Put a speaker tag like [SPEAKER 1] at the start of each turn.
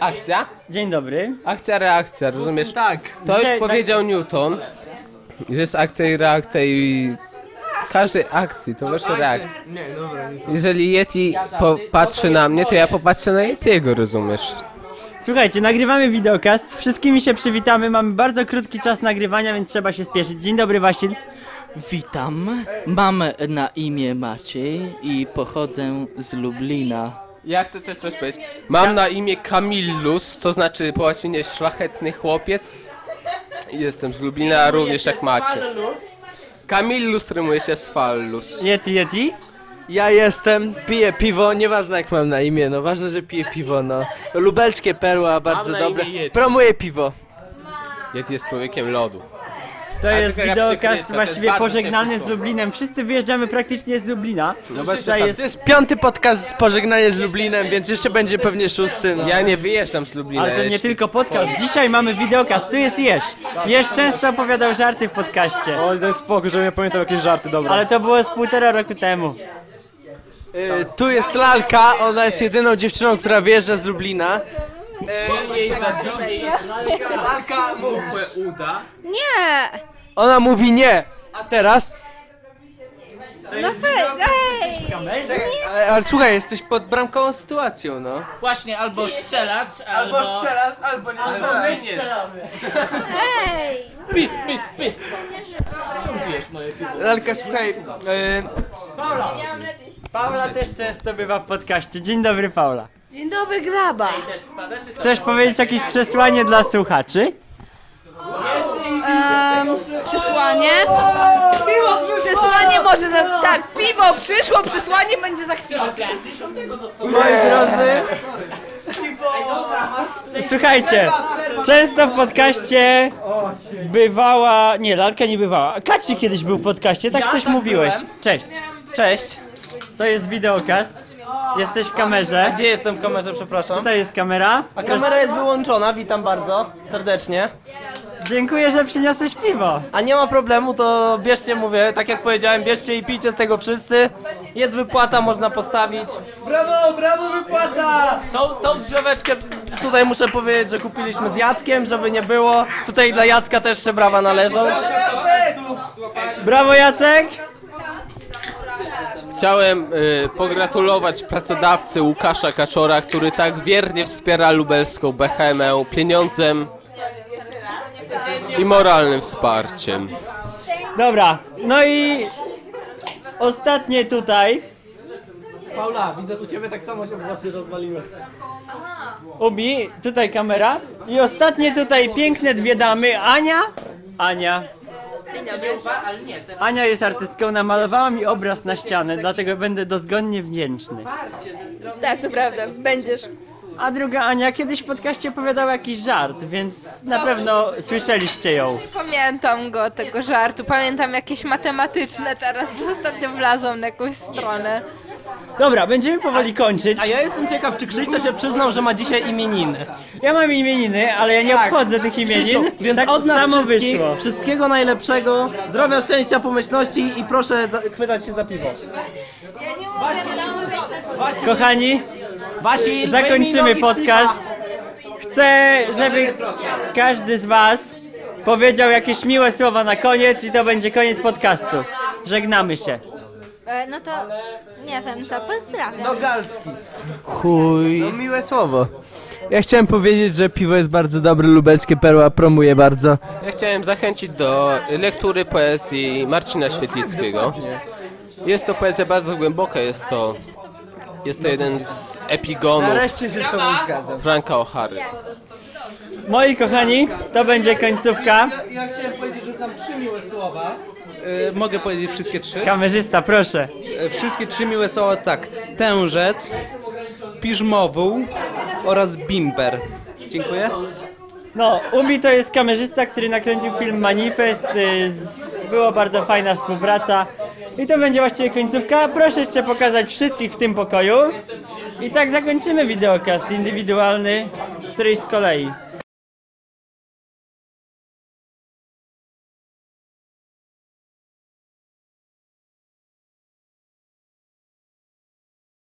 [SPEAKER 1] Akcja?
[SPEAKER 2] Dzień dobry.
[SPEAKER 1] Akcja, reakcja, rozumiesz?
[SPEAKER 2] Tak.
[SPEAKER 1] To już
[SPEAKER 2] Dzisiaj-
[SPEAKER 1] powiedział Newton, że jest akcja i reakcja i każdej akcji, to właśnie reakcja.
[SPEAKER 2] Nie, dobra. nie.
[SPEAKER 1] Jeżeli Yeti popatrzy na mnie, to ja popatrzę na Yetiego, rozumiesz?
[SPEAKER 2] Słuchajcie, nagrywamy wideokast. Wszystkimi się przywitamy. Mamy bardzo krótki czas nagrywania, więc trzeba się spieszyć. Dzień dobry, Wasil.
[SPEAKER 3] Witam, mam na imię Maciej i pochodzę z Lublina.
[SPEAKER 1] Ja chcę też coś powiedzieć. Mam na imię Kamillus, co znaczy po łacinie szlachetny chłopiec. Jestem z Lublina, również jak macie. Kamillus rymuje się z fallus.
[SPEAKER 2] Yeti, Yeti.
[SPEAKER 4] Ja jestem, piję piwo, nieważne jak mam na imię, no ważne, że piję piwo, no. Lubelskie perła, bardzo
[SPEAKER 1] na
[SPEAKER 4] dobre.
[SPEAKER 1] imię Yeti.
[SPEAKER 4] Promuję piwo.
[SPEAKER 1] Yeti jest człowiekiem lodu.
[SPEAKER 2] To jest
[SPEAKER 1] tylko jak
[SPEAKER 2] wideokast
[SPEAKER 1] przykryte, to
[SPEAKER 2] właściwie
[SPEAKER 1] jest bardzo
[SPEAKER 2] pożegnany z
[SPEAKER 1] ciepło.
[SPEAKER 2] Lublinem. Wszyscy wyjeżdżamy praktycznie z Lublina.
[SPEAKER 1] bez
[SPEAKER 2] Tutaj
[SPEAKER 1] przesady.
[SPEAKER 2] jest
[SPEAKER 4] To jest piąty podcast Pożegnanie z Lublinem, więc jeszcze będzie pewnie szósty, no.
[SPEAKER 1] Ja nie wyjeżdżam z Lublina.
[SPEAKER 2] Ale to nie
[SPEAKER 1] jeśli-
[SPEAKER 2] tylko podcast. Dzisiaj mamy wideokast. Tu jest Jesz. Jesz często opowiadał żarty w podcaście.
[SPEAKER 5] Oj, daj spokój, żebym ja pamiętał jakieś żarty, dobra.
[SPEAKER 2] Ale to było z półtora roku temu.
[SPEAKER 4] Y, tu jest Lalka, ona jest jedyną dziewczyną, która wyjeżdża z Lublina. Lalka mówi.
[SPEAKER 1] uda.
[SPEAKER 6] Nie!
[SPEAKER 4] Ona mówi nie. A teraz?
[SPEAKER 6] No fej, ej!
[SPEAKER 4] Ale, E, ale słuchaj, jesteś pod bramkową sytuacją, no.
[SPEAKER 7] Właśnie, albo strzelasz, albo...
[SPEAKER 4] strzelasz, albo nie strzelasz.
[SPEAKER 6] Ej!
[SPEAKER 7] Pis, pis, pis.
[SPEAKER 4] Lalka, słuchaj, y,
[SPEAKER 2] Paula też często bywa w podcaście. Dzień dobry, Paula.
[SPEAKER 6] Dzień dobry, graba!
[SPEAKER 7] Też wpada, czy co?
[SPEAKER 2] Chcesz powiedzieć jakieś przesłanie dla słuchaczy?
[SPEAKER 6] Um, przesłanie? Przesłanie może za... Tak, piwo przyszło, przesłanie będzie za chwilę.
[SPEAKER 2] drodzy. Słuchajcie, często w podcaście bywała. Nie, lalka nie bywała. Kaci kiedyś był w podcaście, tak coś mówiłeś. Cześć. Cześć. To jest wideokast. Jesteś w kamerze.
[SPEAKER 4] gdzie jestem w kamerze, przepraszam?
[SPEAKER 2] Tutaj jest kamera.
[SPEAKER 4] A kamera jest wyłączona, witam bardzo serdecznie.
[SPEAKER 2] Dziękuję, że przyniosłeś piwo.
[SPEAKER 4] A nie ma problemu, to bierzcie, mówię, tak jak powiedziałem, bierzcie i pijcie z tego wszyscy. Jest wypłata, można postawić. Brawo, brawo, wypłata! Tą, tą drzeweczkę tutaj muszę powiedzieć, że kupiliśmy z Jackiem, żeby nie było. Tutaj dla Jacka też się brawa należą.
[SPEAKER 2] Brawo Jacek!
[SPEAKER 1] Chciałem y, pogratulować pracodawcy Łukasza Kaczora, który tak wiernie wspiera lubelską Behemę pieniądzem i moralnym wsparciem.
[SPEAKER 2] Dobra, no i ostatnie tutaj
[SPEAKER 4] Paula, widzę u ciebie tak samo się włosy rozwaliły.
[SPEAKER 2] Ubi, tutaj kamera. I ostatnie tutaj piękne dwie damy. Ania. Ania. Ania jest artystką, namalowała mi obraz na ścianę, dlatego będę dozgonnie wdzięczny.
[SPEAKER 6] Tak, naprawdę, będziesz.
[SPEAKER 2] A druga Ania kiedyś w podcaście opowiadała jakiś żart, więc na pewno słyszeliście ją.
[SPEAKER 6] Nie pamiętam go, tego żartu. Pamiętam jakieś matematyczne teraz, bo ostatnio wlazłam na jakąś stronę.
[SPEAKER 2] Dobra, będziemy powoli kończyć.
[SPEAKER 4] A ja jestem ciekaw, czy Krzyś to się przyznał, że ma dzisiaj imieniny.
[SPEAKER 2] Ja mam imieniny, ale ja nie
[SPEAKER 4] Tak.
[SPEAKER 2] obchodzę tych
[SPEAKER 4] Krzysiu,
[SPEAKER 2] imienin.
[SPEAKER 4] więc
[SPEAKER 2] tak
[SPEAKER 4] od nas
[SPEAKER 2] samo
[SPEAKER 4] wszystkich,
[SPEAKER 2] wyszło.
[SPEAKER 4] wszystkiego najlepszego, zdrowia, szczęścia, pomyślności i proszę za, chwytać się za piwo.
[SPEAKER 2] Kochani,
[SPEAKER 4] Wasi,
[SPEAKER 2] zakończymy podcast. Chcę, żeby każdy z Was powiedział jakieś miłe słowa na koniec i to będzie koniec podcastu. Żegnamy się.
[SPEAKER 8] E, No to nie wiem co, pozdrawiam.
[SPEAKER 4] Galski. Chuj. No miłe słowo. Ja chciałem powiedzieć, że piwo jest bardzo dobre, lubelskie perła promuje bardzo.
[SPEAKER 1] Ja chciałem zachęcić do lektury poezji Marcina Świetlickiego. Jest to poezja bardzo głęboka, jest to, jest to jeden z epigonów
[SPEAKER 4] Nareszcie się z tobą zgadzam.
[SPEAKER 1] Franka O'Hary.
[SPEAKER 2] Moi kochani, to będzie końcówka.
[SPEAKER 9] Ja chciałem powiedzieć, że znam trzy miłe słowa. E, mogę powiedzieć wszystkie trzy?
[SPEAKER 2] Kamerzysta, proszę.
[SPEAKER 9] E, wszystkie trzy miłe słowa tak. Tężec, piżmowół oraz bimber. Dziękuję.
[SPEAKER 2] No, Umi to jest kamerzysta, który nakręcił film Manifest. y, z- Było bardzo fajna współpraca. I to będzie właściwie końcówka. Proszę jeszcze pokazać wszystkich w tym pokoju. I tak zakończymy wideokast indywidualny którejś z kolei.